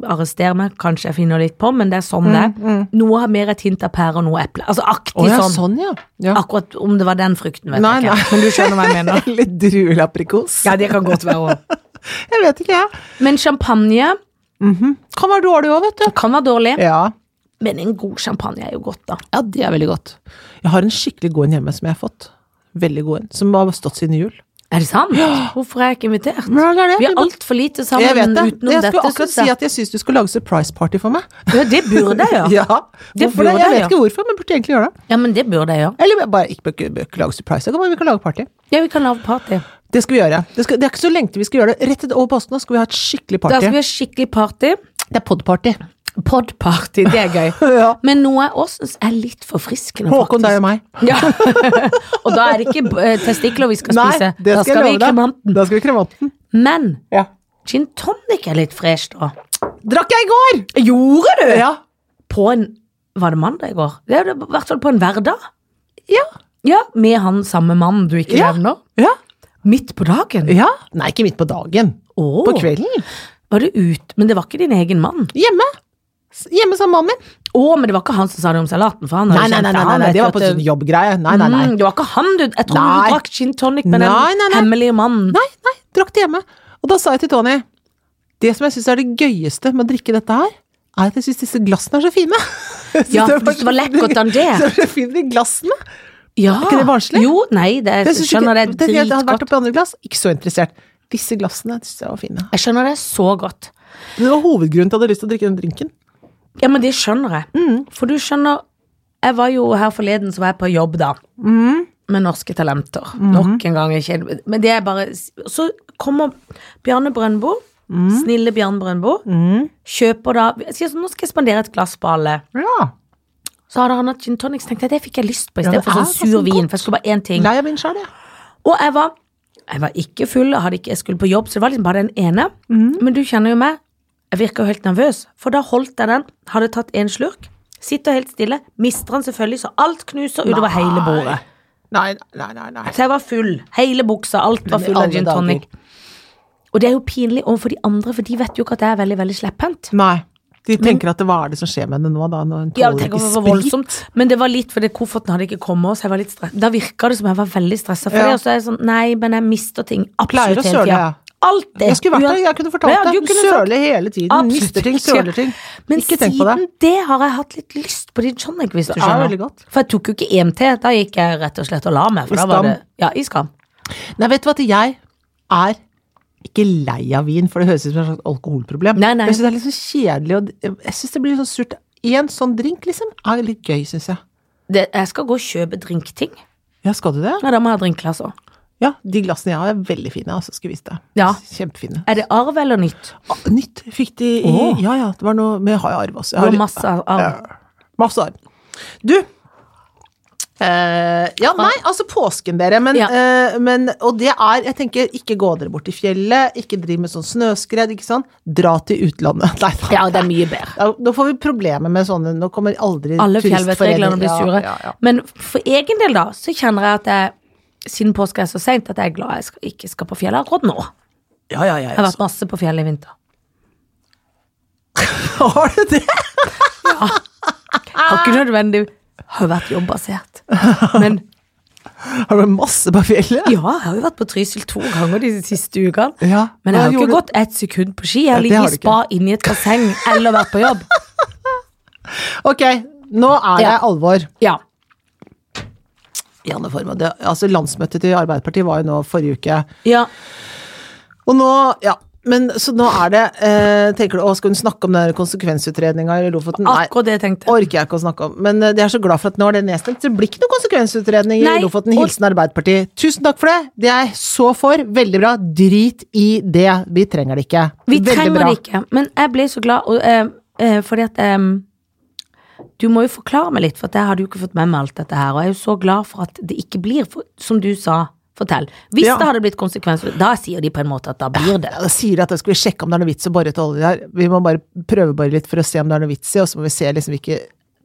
[SPEAKER 1] Arrester meg, kanskje jeg finner litt på, men det er sånn det er. Noe har mer et hint av pære og noe eple. Altså aktig
[SPEAKER 2] Mm, Å ja,
[SPEAKER 1] sånn.
[SPEAKER 2] sånn, ja. ja.
[SPEAKER 1] Akkurat om det var den frukten, vet
[SPEAKER 2] Nei,
[SPEAKER 1] jeg ikke.
[SPEAKER 2] nei.
[SPEAKER 1] Men du skjønner hva jeg mener.
[SPEAKER 2] Litt druelaprikos.
[SPEAKER 1] Ja, det kan godt være òg.
[SPEAKER 2] Jeg vet ikke, jeg.
[SPEAKER 1] Men champagne
[SPEAKER 2] Kan være dårlig òg, vet du.
[SPEAKER 1] kan være dårlig.
[SPEAKER 2] Ja.
[SPEAKER 1] Men en god champagne er jo godt, da.
[SPEAKER 2] ja, det er veldig godt. Jeg har en skikkelig god en hjemme som jeg har fått. Veldig god en. Som har stått siden jul.
[SPEAKER 1] Er det sant? Hvorfor er jeg ikke invitert? Vi er altfor lite sammen
[SPEAKER 2] jeg vet det.
[SPEAKER 1] utenom
[SPEAKER 2] Jeg skulle
[SPEAKER 1] dette.
[SPEAKER 2] akkurat
[SPEAKER 1] synes
[SPEAKER 2] si
[SPEAKER 1] jeg.
[SPEAKER 2] at jeg syns du skulle lage surprise party for meg.
[SPEAKER 1] Ja, det burde jeg gjøre.
[SPEAKER 2] Ja.
[SPEAKER 1] Det
[SPEAKER 2] Hvorfor det?
[SPEAKER 1] burde
[SPEAKER 2] Jeg
[SPEAKER 1] jeg
[SPEAKER 2] vet ikke hvorfor, men burde egentlig gjøre det.
[SPEAKER 1] Ja, men det burde jeg gjøre.
[SPEAKER 2] Eller bare ikke, bør ikke, bør ikke lage surprise, da kan man- vi kan lage party.
[SPEAKER 1] Ja, vi kan lage party.
[SPEAKER 2] Det skal vi gjøre. Det, skal, det er ikke så lenge til vi skal gjøre det. Rett etter over påsken nå skal vi ha et skikkelig
[SPEAKER 1] Da
[SPEAKER 2] party.
[SPEAKER 1] skal vi ha skikkelig party.
[SPEAKER 2] Det er podparty.
[SPEAKER 1] Podparty, det er gøy.
[SPEAKER 2] Ja.
[SPEAKER 1] Men noe jeg også syns er litt forfriskende,
[SPEAKER 2] Håkon,
[SPEAKER 1] faktisk.
[SPEAKER 2] deg og meg.
[SPEAKER 1] Ja. Og da er det ikke eh, testikler vi skal
[SPEAKER 2] Nei,
[SPEAKER 1] spise.
[SPEAKER 2] det
[SPEAKER 1] da
[SPEAKER 2] skal
[SPEAKER 1] skal vi
[SPEAKER 2] jeg
[SPEAKER 1] i
[SPEAKER 2] love deg.
[SPEAKER 1] kremanten.
[SPEAKER 2] Da skal vi i kremanten.
[SPEAKER 1] Men
[SPEAKER 2] Ja.
[SPEAKER 1] Gin tonic er litt fresh, da.
[SPEAKER 2] Drakk jeg i går!
[SPEAKER 1] Gjorde du?!
[SPEAKER 2] Ja.
[SPEAKER 1] På en Var det mandag i går? Det er det, I hvert fall på en hverdag.
[SPEAKER 2] Ja.
[SPEAKER 1] Ja, Med han samme mannen du ikke
[SPEAKER 2] Ja.
[SPEAKER 1] nevner?
[SPEAKER 2] Ja.
[SPEAKER 1] Midt på dagen?
[SPEAKER 2] ja. Nei, ikke midt på dagen.
[SPEAKER 1] Åh,
[SPEAKER 2] På kvelden.
[SPEAKER 1] Var det ut, men det var ikke din egen mann?
[SPEAKER 2] Hjemme. S- Hjemme sammen med mannen min.
[SPEAKER 1] Å, men det var ikke han som sa det om salaten, for han
[SPEAKER 2] Nei,
[SPEAKER 1] hadde
[SPEAKER 2] nei, nei,
[SPEAKER 1] kjent
[SPEAKER 2] nei, nei,
[SPEAKER 1] han,
[SPEAKER 2] nei, det var
[SPEAKER 1] vet
[SPEAKER 2] på
[SPEAKER 1] du at
[SPEAKER 2] sånn jobbgreie. Nei, nei, nei.
[SPEAKER 1] Mm, det var ikke han du Jeg tror
[SPEAKER 2] Nei.
[SPEAKER 1] du drakk gin tonic med
[SPEAKER 2] Nei,
[SPEAKER 1] den
[SPEAKER 2] nei, nei.
[SPEAKER 1] hemmelige mannen.
[SPEAKER 2] Nei, nei, drakk det hjemme. Og da sa jeg til Tony Det som jeg syns er det gøyeste med å drikke dette her, er at jeg syns disse glassene er så fine. Jeg synes
[SPEAKER 1] Ja,
[SPEAKER 2] det
[SPEAKER 1] for det var lekkert han det.
[SPEAKER 2] Så det er fint i glassene.
[SPEAKER 1] Ja.
[SPEAKER 2] ikke det barnslig?
[SPEAKER 1] Jo, nei, det,
[SPEAKER 2] Jeg
[SPEAKER 1] jeg
[SPEAKER 2] synes
[SPEAKER 1] skjønner det
[SPEAKER 2] ikke, det, jeg hadde vært
[SPEAKER 1] dritgodt.
[SPEAKER 2] oppi andre glass, ikke så interessert. Disse glassene jeg synes jeg var fine.
[SPEAKER 1] Jeg skjønner det så godt.
[SPEAKER 2] Det var hovedgrunnen til at jeg hadde lyst til å drikke den drinken.
[SPEAKER 1] Ja, men det skjønner jeg.
[SPEAKER 2] Mm.
[SPEAKER 1] For du skjønner Jeg var jo her forleden, så var jeg på jobb, da.
[SPEAKER 2] Mm.
[SPEAKER 1] Med norske talenter. Nok en gang. Ikke, men det er bare Så kommer Bjarne Brøndbo.
[SPEAKER 2] Mm.
[SPEAKER 1] Snille Bjarne Brøndbo. Kjøper da jeg sier sånn, Nå skal jeg spandere et glass på alle.
[SPEAKER 2] Ja.
[SPEAKER 1] Så hadde han hatt gin tonic, så tenkte jeg det fikk jeg lyst på
[SPEAKER 2] Ja, det
[SPEAKER 1] istedenfor for
[SPEAKER 2] er
[SPEAKER 1] sånn sur
[SPEAKER 2] faktisk
[SPEAKER 1] vin.
[SPEAKER 2] godt.
[SPEAKER 1] For jeg skulle bare én ting.
[SPEAKER 2] Lei av min sjæl, jeg.
[SPEAKER 1] Og jeg var, jeg var ikke full, jeg, hadde ikke, jeg skulle på jobb, så det var liksom bare den ene. Men du kjenner jo meg, jeg virker jo helt nervøs. For da holdt jeg den, hadde tatt en slurk, sitter helt stille, mister den selvfølgelig, så alt knuser utover hele bordet.
[SPEAKER 2] Nei, nei, nei. nei.
[SPEAKER 1] Så jeg var full. Hele buksa, alt var
[SPEAKER 2] Men i
[SPEAKER 1] full av
[SPEAKER 2] alle
[SPEAKER 1] gin
[SPEAKER 2] dager.
[SPEAKER 1] tonic. Og det er jo pinlig overfor de andre, for de vet jo ikke at jeg er veldig, veldig slepphendt.
[SPEAKER 2] nei. De tenker at det, hva er det som skjer med henne nå, da? Når hun
[SPEAKER 1] Ja,
[SPEAKER 2] tåler
[SPEAKER 1] tenk om
[SPEAKER 2] ikke
[SPEAKER 1] det var
[SPEAKER 2] sprit?
[SPEAKER 1] voldsomt. Men det var litt fordi kofferten hadde ikke kommet. Så jeg var litt stress. Da virka det som jeg var veldig stressa for
[SPEAKER 2] Ja.
[SPEAKER 1] det. Og så er jeg sånn, nei, men jeg mister ting
[SPEAKER 2] Pleier å
[SPEAKER 1] absolutt hele
[SPEAKER 2] søle,
[SPEAKER 1] tida.
[SPEAKER 2] ja.
[SPEAKER 1] Alltid.
[SPEAKER 2] Jeg skulle vært der, jeg kunne fortalt
[SPEAKER 1] Ja,
[SPEAKER 2] deg.
[SPEAKER 1] du
[SPEAKER 2] Du
[SPEAKER 1] kunne sagt-
[SPEAKER 2] søler hele tiden.
[SPEAKER 1] Absolutt
[SPEAKER 2] Mister ting,
[SPEAKER 1] ikke.
[SPEAKER 2] søler ting.
[SPEAKER 1] Men
[SPEAKER 2] ikke
[SPEAKER 1] siden
[SPEAKER 2] tenk på det.
[SPEAKER 1] det. har jeg hatt litt lyst på din tonic, hvis du
[SPEAKER 2] Det er
[SPEAKER 1] skjønner.
[SPEAKER 2] veldig godt.
[SPEAKER 1] For jeg tok jo ikke EMT. Da gikk jeg rett og slett og la meg. For
[SPEAKER 2] I
[SPEAKER 1] da var
[SPEAKER 2] skam.
[SPEAKER 1] det, ja, I skam.
[SPEAKER 2] Nei, vet du hva, at jeg er ikke lei av vin, for det høres ut som et slags alkoholproblem.
[SPEAKER 1] Nei, nei.
[SPEAKER 2] Jeg syns det er litt så kjedelig, og jeg syns det blir så surt. Én sånn drink, liksom, er litt gøy, syns jeg.
[SPEAKER 1] Det, jeg skal gå og kjøpe drinkting.
[SPEAKER 2] Ja, skal du det?
[SPEAKER 1] Ja, da må jeg ha drinkglass òg.
[SPEAKER 2] Ja, de glassene jeg har, er veldig fine, altså, skal jeg vise deg.
[SPEAKER 1] Ja.
[SPEAKER 2] Kjempefine.
[SPEAKER 1] Er det arv eller nytt?
[SPEAKER 2] Ah, Nytt fikk de i
[SPEAKER 1] Åh.
[SPEAKER 2] Ja, ja, det var noe Men jeg har jo arv også. Jeg
[SPEAKER 1] Det
[SPEAKER 2] har
[SPEAKER 1] var
[SPEAKER 2] litt-
[SPEAKER 1] masse arv.
[SPEAKER 2] Ja. Masse arv. Du eh, ja, nei, altså påsken, dere. Men,
[SPEAKER 1] Ja.
[SPEAKER 2] eh, men Og det er Jeg tenker, ikke gå dere bort i fjellet. Ikke driv med sånn snøskred, ikke sant. Dra til utlandet. Nei, da.
[SPEAKER 1] Ja, det er mye bedre.
[SPEAKER 2] Da, da får vi problemer med sånne Nå kommer aldri
[SPEAKER 1] Alle fjellvettreglene
[SPEAKER 2] turistforeningen-
[SPEAKER 1] blir sure.
[SPEAKER 2] Ja, ja, ja.
[SPEAKER 1] Men for egen del, da, så kjenner jeg at jeg siden påske er så seint, at jeg er glad jeg skal, ikke skal på fjellet akkurat nå. Jeg
[SPEAKER 2] ja, ja, ja,
[SPEAKER 1] har
[SPEAKER 2] ja.
[SPEAKER 1] vært masse på fjellet i vinter.
[SPEAKER 2] Så Har du det?
[SPEAKER 1] Har ikke
[SPEAKER 2] Ah.
[SPEAKER 1] nødvendig Har jo vært jobbbasert. Men
[SPEAKER 2] Har du vært masse på fjellet?
[SPEAKER 1] ja, jeg har jo vært på Trysil to ganger de siste ukene.
[SPEAKER 2] Ja,
[SPEAKER 1] Men jeg
[SPEAKER 2] hva
[SPEAKER 1] har jo
[SPEAKER 2] gjorde
[SPEAKER 1] ikke
[SPEAKER 2] du?
[SPEAKER 1] gått ett sekund på ski. Jeg
[SPEAKER 2] Ja,
[SPEAKER 1] har
[SPEAKER 2] det har
[SPEAKER 1] ligget
[SPEAKER 2] du
[SPEAKER 1] i spa inni et basseng eller vært på jobb.
[SPEAKER 2] Ok, nå er det
[SPEAKER 1] Ja.
[SPEAKER 2] alvor.
[SPEAKER 1] Ja.
[SPEAKER 2] Janne Formoe, det- altså Landsmøtet til Arbeiderpartiet var jo nå forrige uke.
[SPEAKER 1] ja.
[SPEAKER 2] Og nå, ja. Men så nå er det eh, Tenker du å, skal hun snakke om den konsekvensutredninga i Lofoten? Nei,
[SPEAKER 1] Akkurat det jeg tenkte.
[SPEAKER 2] orker jeg ikke å snakke om. Men eh, jeg er så glad for at nå er det nedstemt. Det blir ikke noen konsekvensutredning
[SPEAKER 1] Nei,
[SPEAKER 2] i Lofoten.
[SPEAKER 1] og-
[SPEAKER 2] Hilsen Arbeiderpartiet. Tusen takk for det! Det er jeg så for. Veldig bra. Drit i det. Vi trenger det ikke.
[SPEAKER 1] Vi
[SPEAKER 2] Veldig
[SPEAKER 1] trenger
[SPEAKER 2] bra.
[SPEAKER 1] det ikke, men jeg ble så glad, og, eh, eh, fordi at em, Du må jo forklare meg litt, for at jeg hadde jo ikke fått med meg alt dette her. Og jeg er jo så glad for at det ikke blir, for, som du sa, fortell. Hvis
[SPEAKER 2] Ja.
[SPEAKER 1] det hadde blitt konsekvenser, da sier de på en måte at da blir det.
[SPEAKER 2] Ja, da sier de at da skal vi sjekke om det er noe vits i å bore etter olje her. Vi må bare prøvebore litt for å se om det er noe vits i, og så må vi se liksom ikke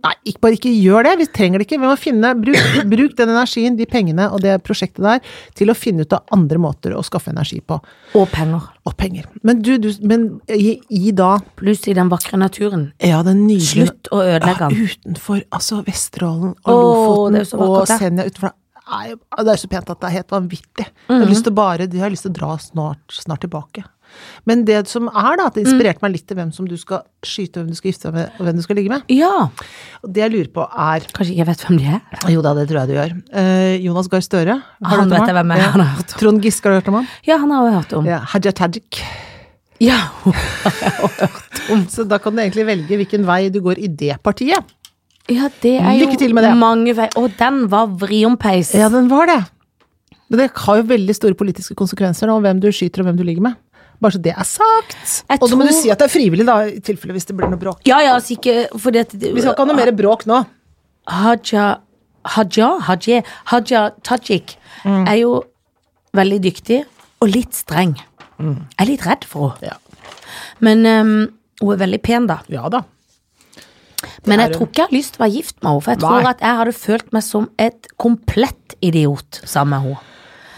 [SPEAKER 2] Nei, ikke, bare ikke gjør det! Vi trenger det ikke. Vi må finne bruk, bruk den energien, de pengene og det prosjektet der til å finne ut av andre måter å skaffe energi på.
[SPEAKER 1] Og penger.
[SPEAKER 2] Og penger. Men du, du Men i, i da
[SPEAKER 1] Pluss i den vakre naturen.
[SPEAKER 2] Ja, den nydelige
[SPEAKER 1] Slutt å ødelegge den.
[SPEAKER 2] Ja, utenfor altså Vesterålen og
[SPEAKER 1] Åh,
[SPEAKER 2] Lofoten
[SPEAKER 1] det er jo så
[SPEAKER 2] og
[SPEAKER 1] vakkert der.
[SPEAKER 2] Senja utenfor der. Nei, Det er jo så pent at det er helt vanvittig. Jeg
[SPEAKER 1] Mhm.
[SPEAKER 2] har lyst til å bare, de har lyst til å dra snart, snart tilbake. Men det som er, da, at
[SPEAKER 1] Mhm.
[SPEAKER 2] det inspirerte meg litt til hvem som du skal skyte, hvem du skal gifte deg med, og hvem du skal ligge med.
[SPEAKER 1] Ja.
[SPEAKER 2] Og det jeg lurer på, er
[SPEAKER 1] Kanskje ikke jeg vet hvem de er.
[SPEAKER 2] Jo da, det tror jeg du gjør. Eh, Jonas Gahr Støre. du
[SPEAKER 1] Han
[SPEAKER 2] hørt om
[SPEAKER 1] vet jeg hvem er, han har hørt om.
[SPEAKER 2] Trond Giske, har du hørt om han?
[SPEAKER 1] Ja, han har jeg hørt om.
[SPEAKER 2] Ja, Hadia Tajik.
[SPEAKER 1] Ja.
[SPEAKER 2] Så da kan du egentlig velge hvilken vei du går i det partiet.
[SPEAKER 1] ja, det er jo
[SPEAKER 2] Lykke til med det.
[SPEAKER 1] mange veier. Og den var vriompeis.
[SPEAKER 2] Ja, den var det. Men det har jo veldig store politiske konsekvenser nå, hvem du skyter og hvem du ligger med. Bare så det er sagt.
[SPEAKER 1] Jeg
[SPEAKER 2] Og da må
[SPEAKER 1] tror-
[SPEAKER 2] du si at det er frivillig, da, i tilfelle hvis det blir noe bråk.
[SPEAKER 1] Ja, ja, altså ikke fordi at
[SPEAKER 2] Vi skal ikke ha noe mer bråk nå.
[SPEAKER 1] Haja Haja, Haji, Haja Tajik
[SPEAKER 2] Mm.
[SPEAKER 1] er jo veldig dyktig og litt streng.
[SPEAKER 2] Mm.
[SPEAKER 1] Jeg er litt redd for henne,
[SPEAKER 2] Ja,
[SPEAKER 1] um, men ehm, hun er veldig pen, da.
[SPEAKER 2] ja da.
[SPEAKER 1] Men
[SPEAKER 2] er
[SPEAKER 1] jeg tror ikke jeg har lyst til å være gift med henne, for jeg
[SPEAKER 2] Nei.
[SPEAKER 1] tror at jeg hadde følt meg som et komplett idiot sammen med henne.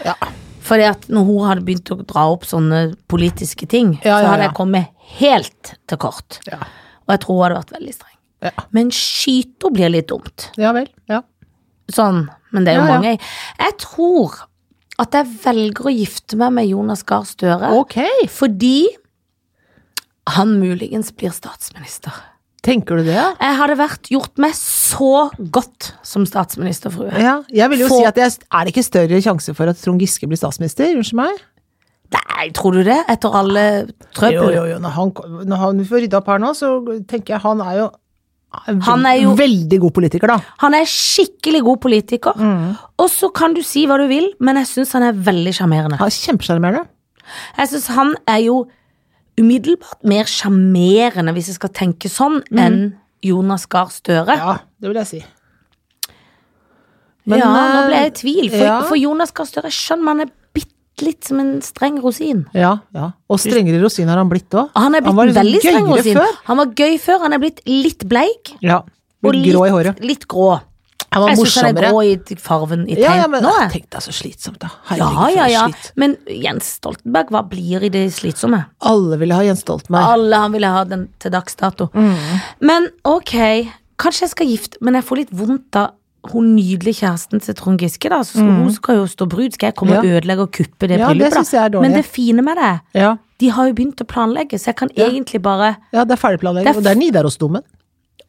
[SPEAKER 2] Ja.
[SPEAKER 1] Fordi at når hun hadde begynt å dra opp sånne politiske ting,
[SPEAKER 2] Ja,
[SPEAKER 1] så
[SPEAKER 2] ja,
[SPEAKER 1] hadde
[SPEAKER 2] ja.
[SPEAKER 1] jeg kommet helt til kort.
[SPEAKER 2] Ja.
[SPEAKER 1] Og jeg tror hun hadde vært veldig streng.
[SPEAKER 2] Ja.
[SPEAKER 1] Men skyter blir litt dumt.
[SPEAKER 2] ja vel. Ja.
[SPEAKER 1] Sånn, men det er jo
[SPEAKER 2] Ja, ja.
[SPEAKER 1] mange. Jeg tror at jeg velger å gifte meg med Jonas Gahr Støre
[SPEAKER 2] Ok.
[SPEAKER 1] fordi han muligens blir statsminister.
[SPEAKER 2] Tenker du det?
[SPEAKER 1] Jeg hadde vært gjort meg så godt som statsministerfrue.
[SPEAKER 2] Ja. Jeg vil jo
[SPEAKER 1] Få-
[SPEAKER 2] si at jeg, er det ikke større sjanse for at Trond Giske blir statsminister? Unnskyld meg?
[SPEAKER 1] Nei, tror du det? Etter alle
[SPEAKER 2] Jo,
[SPEAKER 1] trøbbel.
[SPEAKER 2] jo, jo. Når han, når han får rydda opp her nå, så tenker jeg han er jo
[SPEAKER 1] Han er jo-
[SPEAKER 2] veldig god politiker, da.
[SPEAKER 1] Han er skikkelig god politiker.
[SPEAKER 2] Mm.
[SPEAKER 1] Og så kan du si hva du vil, men jeg syns han er veldig sjarmerende.
[SPEAKER 2] Han er kjempesjarmerende.
[SPEAKER 1] Jeg syns han er jo umiddelbart mer sjarmerende, hvis jeg skal tenke sånn, enn Jonas Gahr Støre.
[SPEAKER 2] Mm. Ja, det vil jeg si.
[SPEAKER 1] ja, nå ble
[SPEAKER 2] eh,
[SPEAKER 1] jeg i tvil, for,
[SPEAKER 2] ja.
[SPEAKER 1] for Jonas Gahr Støre, jeg skjønner, han er bitte litt som en streng rosin.
[SPEAKER 2] Ja, ja. Og strengere rosin har han blitt òg.
[SPEAKER 1] Han er blitt
[SPEAKER 2] var liksom
[SPEAKER 1] veldig streng
[SPEAKER 2] gøyere
[SPEAKER 1] rosin.
[SPEAKER 2] før.
[SPEAKER 1] Han var gøy før, han er blitt litt bleik.
[SPEAKER 2] Ja.
[SPEAKER 1] Og
[SPEAKER 2] Litt grå i håret.
[SPEAKER 1] litt, litt grå.
[SPEAKER 2] Han var
[SPEAKER 1] Jeg syns han er
[SPEAKER 2] morsommere.
[SPEAKER 1] grå i t- farven i tegn
[SPEAKER 2] Ja, ja, men
[SPEAKER 1] nå. jeg.
[SPEAKER 2] tenk deg så slitsomt, da.
[SPEAKER 1] Ja,
[SPEAKER 2] for
[SPEAKER 1] ja,
[SPEAKER 2] en
[SPEAKER 1] ja.
[SPEAKER 2] slit.
[SPEAKER 1] Men Jens Stoltenberg, hva blir i det slitsomme?
[SPEAKER 2] Alle ville ha Jens Stoltenberg.
[SPEAKER 1] Alle han ville ha den til dags dato.
[SPEAKER 2] Mm.
[SPEAKER 1] Men ok, kanskje jeg skal gifte Men jeg får litt vondt av hun nydelige kjæresten til Trond Giske, da. Så skal, hun skal jo stå brud. Skal jeg komme og
[SPEAKER 2] Mm. Ja.
[SPEAKER 1] ødelegge og kuppe det
[SPEAKER 2] Ja, det
[SPEAKER 1] bryllupet,
[SPEAKER 2] synes jeg er
[SPEAKER 1] da?
[SPEAKER 2] dårlig.
[SPEAKER 1] Men det fine med det,
[SPEAKER 2] Ja.
[SPEAKER 1] de har jo begynt å planlegge, så jeg kan egentlig bare
[SPEAKER 2] ja, det er
[SPEAKER 1] Det
[SPEAKER 2] ferdigplanlegging.
[SPEAKER 1] er
[SPEAKER 2] Og det er Nidarosdomen.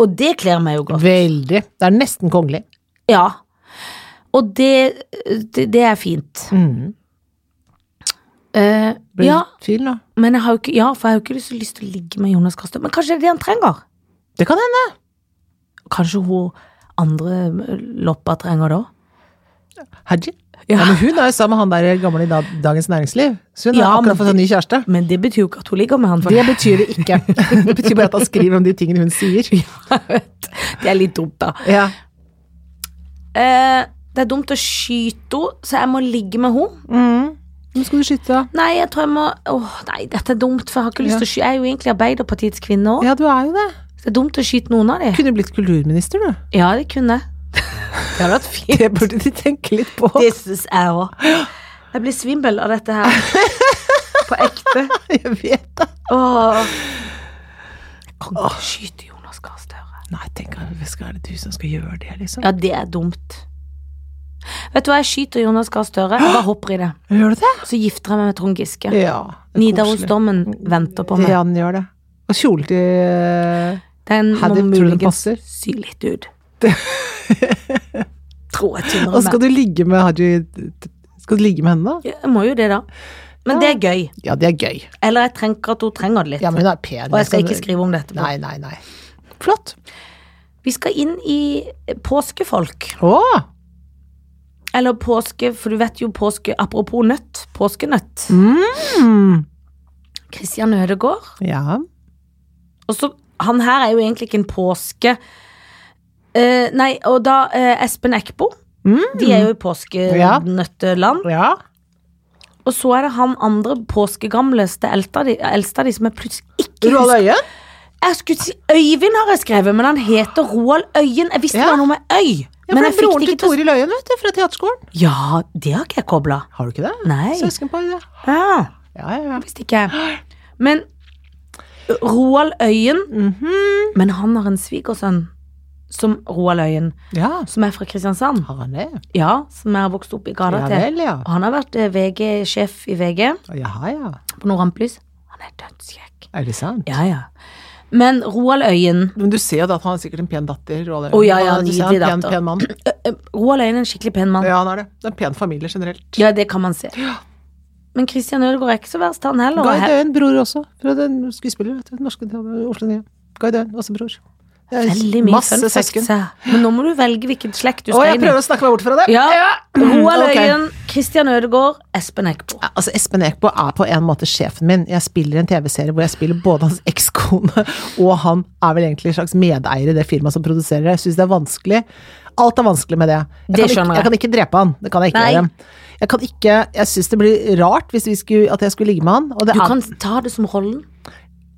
[SPEAKER 1] Og det kler meg jo godt.
[SPEAKER 2] Veldig. Det er nesten kongelig.
[SPEAKER 1] Ja. Og det, det, det er fint.
[SPEAKER 2] Mm.
[SPEAKER 1] Eh,
[SPEAKER 2] Blir
[SPEAKER 1] ja,
[SPEAKER 2] tvil nå.
[SPEAKER 1] men jeg har jo ikke, ja, for jeg har jo ikke lyst, lyst til å ligge med Jonas Gahr Støre. Men kanskje det er det han trenger?
[SPEAKER 2] Det kan hende.
[SPEAKER 1] Kanskje hun andre loppa trenger det òg?
[SPEAKER 2] Haji.
[SPEAKER 1] Ja.
[SPEAKER 2] Ja. men hun er jo sammen med han der gamle i da- Dagens Næringsliv. Så hun har
[SPEAKER 1] Ja, men
[SPEAKER 2] akkurat fått seg ny kjæreste.
[SPEAKER 1] Men det betyr jo ikke at hun ligger med han. For
[SPEAKER 2] Det betyr det ikke. Det betyr bare at han skriver om de tingene hun sier.
[SPEAKER 1] det er litt dumt, da.
[SPEAKER 2] Ja.
[SPEAKER 1] Eh, det er dumt å skyte henne, så jeg må ligge med henne.
[SPEAKER 2] Mm. Nå skal du skyte, da.
[SPEAKER 1] Nei, jeg tror jeg må Åh, nei, dette er dumt, for jeg har ikke lyst
[SPEAKER 2] Ja.
[SPEAKER 1] til å skyte. Jeg er jo egentlig Arbeiderpartiets kvinne òg.
[SPEAKER 2] Ja, du er jo det.
[SPEAKER 1] Det er dumt å skyte noen av dem.
[SPEAKER 2] Kunne blitt kulturminister, du.
[SPEAKER 1] Ja, det kunne jeg.
[SPEAKER 2] Det hadde vært fint. Det burde de tenke litt på.
[SPEAKER 1] Det syns jeg òg. Jeg blir svimmel av dette her. På ekte.
[SPEAKER 2] Jeg vet det.
[SPEAKER 1] Åh. Jeg kan ikke skyte Jonas Gahr Støre.
[SPEAKER 2] Nei, tenk, hva skal- er det du som skal gjøre det, liksom?
[SPEAKER 1] Ja, det er dumt. Vet du hva, jeg skyter Jonas Gahr Støre. Jeg bare hopper i det.
[SPEAKER 2] Gjør du det?
[SPEAKER 1] Så gifter jeg meg med Trond Giske.
[SPEAKER 2] Ja. det er koselig.
[SPEAKER 1] Nidarosdommen venter på meg.
[SPEAKER 2] Ja, den gjør det. Og kjole til
[SPEAKER 1] Den må
[SPEAKER 2] Hadde- tror du den
[SPEAKER 1] muligens
[SPEAKER 2] passer?
[SPEAKER 1] sy litt ut. Tror jeg
[SPEAKER 2] Og
[SPEAKER 1] tynner
[SPEAKER 2] skal
[SPEAKER 1] meg.
[SPEAKER 2] du ligge med Haji Skal du ligge med henne, da?
[SPEAKER 1] Jeg må jo det, da. Men det er gøy.
[SPEAKER 2] Ja, det er gøy.
[SPEAKER 1] Eller jeg tenker at hun trenger det litt.
[SPEAKER 2] Ja, men hun er pen. liksom.
[SPEAKER 1] Og jeg skal ikke skrive om det etterpå.
[SPEAKER 2] Nei, nei, nei. Flott.
[SPEAKER 1] Vi skal inn i påskefolk.
[SPEAKER 2] Å!
[SPEAKER 1] Eller påske, for du vet jo påske Apropos nøtt. Påskenøtt.
[SPEAKER 2] Mm.
[SPEAKER 1] Christian Ødegaard.
[SPEAKER 2] Ja.
[SPEAKER 1] Og så Han her er jo egentlig ikke en påske. Eh, nei, og da eh, Espen Eckbo.
[SPEAKER 2] Mm.
[SPEAKER 1] De er jo i påskenøtteland.
[SPEAKER 2] ja.
[SPEAKER 1] Og så er det han andre påskegamleste eldsta di, eldsta di som jeg plutselig ikke
[SPEAKER 2] Roald
[SPEAKER 1] husker.
[SPEAKER 2] Øyen?
[SPEAKER 1] Jeg skulle si Øyvind har jeg skrevet, men han heter Roald Øyen. Jeg visste
[SPEAKER 2] Ja.
[SPEAKER 1] det var noe med øy.
[SPEAKER 2] Ja, for det
[SPEAKER 1] men jeg
[SPEAKER 2] er
[SPEAKER 1] fikk
[SPEAKER 2] broren
[SPEAKER 1] det
[SPEAKER 2] til
[SPEAKER 1] ikke til å
[SPEAKER 2] Toril Øyen, vet du, fra teaterskolen.
[SPEAKER 1] Ja, det har ikke jeg kobla.
[SPEAKER 2] Har du ikke det?
[SPEAKER 1] Nei.
[SPEAKER 2] Søskenpar, det.
[SPEAKER 1] Ja.
[SPEAKER 2] Ja, ja, ja.
[SPEAKER 1] Visste ikke jeg. Men Roald Øyen
[SPEAKER 2] Mhm.
[SPEAKER 1] Men han har en svigersønn som Roald Øyen,
[SPEAKER 2] Ja, sånn
[SPEAKER 1] som er fra Kristiansand.
[SPEAKER 2] har han det?
[SPEAKER 1] Ja, som jeg har vokst opp i gata
[SPEAKER 2] Ja
[SPEAKER 1] til.
[SPEAKER 2] vel, ja.
[SPEAKER 1] Og han har vært eh, VG-sjef i VG
[SPEAKER 2] Ja, ja.
[SPEAKER 1] på Nordramplys. Han er dødskjekk.
[SPEAKER 2] Er det sant?
[SPEAKER 1] Ja, ja. Men Roald Øyen
[SPEAKER 2] Men du ser jo da at han har sikkert en pen datter. Roald Øyen.
[SPEAKER 1] Å, ja, ja,
[SPEAKER 2] Han er- du ser
[SPEAKER 1] nydelig
[SPEAKER 2] han er en
[SPEAKER 1] datter.
[SPEAKER 2] Pen, pen mann.
[SPEAKER 1] Ø, ø, Roald Øyen er en skikkelig pen mann. Ja.
[SPEAKER 2] Ja, han er det. Det er en pen familie generelt.
[SPEAKER 1] det kan man se.
[SPEAKER 2] Ja.
[SPEAKER 1] Men Christian Ødegaard er ikke så verst, han heller. Og
[SPEAKER 2] Guy
[SPEAKER 1] he-
[SPEAKER 2] Døen, bror også. Fra den skuespiller, vet du. den Norske Oslo Nye. Guy Døen, også bror. Det er
[SPEAKER 1] Veldig mye
[SPEAKER 2] masse
[SPEAKER 1] fun facts
[SPEAKER 2] søsken.
[SPEAKER 1] her. Men nå må du velge hvilken slekt du
[SPEAKER 2] Å,
[SPEAKER 1] skal
[SPEAKER 2] jeg
[SPEAKER 1] inn i.
[SPEAKER 2] prøver å snakke meg bort fra det.
[SPEAKER 1] Ja. Roald
[SPEAKER 2] Ok.
[SPEAKER 1] Øyen, Christian Ødegaard, Espen Eckbo.
[SPEAKER 2] Ja, Altså, Espen Eckbo er på en måte sjefen min. Jeg spiller en TV-serie hvor jeg spiller både hans ekskone og han er vel egentlig en slags medeier i det firmaet som produserer det. Jeg syns det er vanskelig. Alt er vanskelig med det. Jeg,
[SPEAKER 1] Det
[SPEAKER 2] kan,
[SPEAKER 1] skjønner
[SPEAKER 2] ikke,
[SPEAKER 1] jeg.
[SPEAKER 2] jeg kan ikke drepe han. Det kan jeg ikke
[SPEAKER 1] Nei.
[SPEAKER 2] gjøre. Jeg kan ikke Jeg syns det blir rart hvis vi skulle, at jeg skulle ligge med han. Og det
[SPEAKER 1] Du
[SPEAKER 2] er,
[SPEAKER 1] kan ta det som rollen.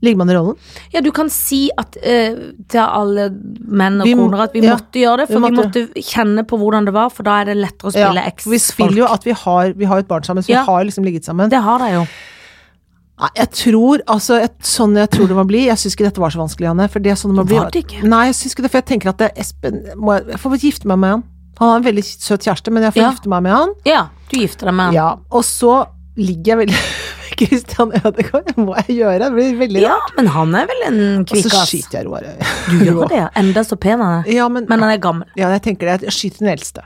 [SPEAKER 2] Ligger man i rollen?
[SPEAKER 1] Ja, du kan si at eh, til alle menn og
[SPEAKER 2] Vi må-
[SPEAKER 1] koner at vi
[SPEAKER 2] ja,
[SPEAKER 1] måtte gjøre det,
[SPEAKER 2] vi
[SPEAKER 1] for vi
[SPEAKER 2] måtte.
[SPEAKER 1] måtte kjenne på hvordan det var, for da er det lettere å spille
[SPEAKER 2] Ja, for vi
[SPEAKER 1] eksfolk.
[SPEAKER 2] spiller jo at vi har, vi har et barn sammen, så
[SPEAKER 1] Ja.
[SPEAKER 2] vi har liksom ligget sammen.
[SPEAKER 1] Det har de jo.
[SPEAKER 2] Nei, jeg tror, altså, jeg, sånn jeg tror det må bli Jeg syns ikke dette var så vanskelig, Janne. For det er sånn det må bli.
[SPEAKER 1] Var det ikke?
[SPEAKER 2] Nei, jeg syns ikke det, for jeg tenker at det, Espen må jeg, jeg får vel gifte meg med han. Han har en veldig søt kjæreste, men jeg får
[SPEAKER 1] Ja.
[SPEAKER 2] gifte meg med han.
[SPEAKER 1] Ja, du gifter deg med han.
[SPEAKER 2] Ja, Og så ligger jeg veldig med Christian Ødegaard. Det må jeg gjøre. Det blir veldig
[SPEAKER 1] Ja, men han er vel en
[SPEAKER 2] Og så
[SPEAKER 1] kvikkas.
[SPEAKER 2] skyter jeg Roar Øye.
[SPEAKER 1] Du gjør det, ja. Enda så pen han er.
[SPEAKER 2] Ja, men,
[SPEAKER 1] Men han er gammel.
[SPEAKER 2] ja, jeg tenker det. Jeg skyter den eldste.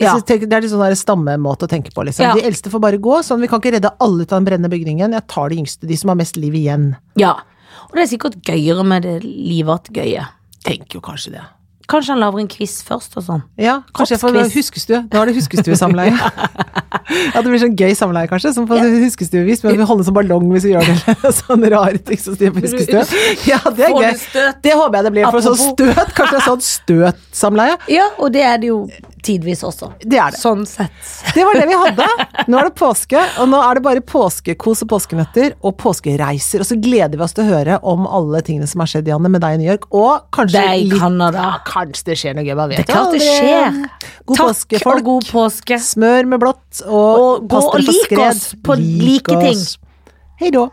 [SPEAKER 2] Jeg
[SPEAKER 1] Ja.
[SPEAKER 2] synes, tenk- det er litt sånn der stammemåte å tenke på, liksom.
[SPEAKER 1] Ja.
[SPEAKER 2] De eldste får bare gå. Sånn, vi kan ikke redde alle ut av den brennende bygningen. Jeg tar de yngste, de som har mest liv igjen.
[SPEAKER 1] Ja. Og det er sikkert gøyere med det livet gøye.
[SPEAKER 2] Tenker jo kanskje det.
[SPEAKER 1] Kanskje han lager en quiz først og sånn.
[SPEAKER 2] Ja, kanskje jeg får
[SPEAKER 1] Kroppsquiz.
[SPEAKER 2] huskestue. Nå er det huskestuesamleie. ja, det blir sånn gøy samleie, kanskje. Som på huskestuevis, men vi holder som ballong hvis vi gjør det. eller sånn rar ting som styrer på huskestue. Ja, det er
[SPEAKER 1] Får
[SPEAKER 2] gøy.
[SPEAKER 1] du støt?
[SPEAKER 2] Det håper jeg det blir. For sånn
[SPEAKER 1] Apropos.
[SPEAKER 2] støt, kanskje det er sånn støtsamleie.
[SPEAKER 1] Ja, og det er det jo tidvis også.
[SPEAKER 2] Det er det.
[SPEAKER 1] Sånn sett.
[SPEAKER 2] Det var det vi hadde. Nå er det påske, og nå er det bare påskekos og påskenøtter og påskereiser. Og så gleder vi oss til å høre om alle tingene som har skjedd, Janne, med deg i New York. Og kanskje
[SPEAKER 1] Deg i
[SPEAKER 2] litt-
[SPEAKER 1] Canada.
[SPEAKER 2] Kanskje det skjer noe gøy, man vet
[SPEAKER 1] Det er klart det
[SPEAKER 2] aldri.
[SPEAKER 1] skjer.
[SPEAKER 2] God
[SPEAKER 1] Takk
[SPEAKER 2] påske,
[SPEAKER 1] og god påske.
[SPEAKER 2] Smør med blått, og,
[SPEAKER 1] Og gå
[SPEAKER 2] pass dere
[SPEAKER 1] og
[SPEAKER 2] for
[SPEAKER 1] lik
[SPEAKER 2] skred.
[SPEAKER 1] oss på like ting.
[SPEAKER 2] oss. Hei da.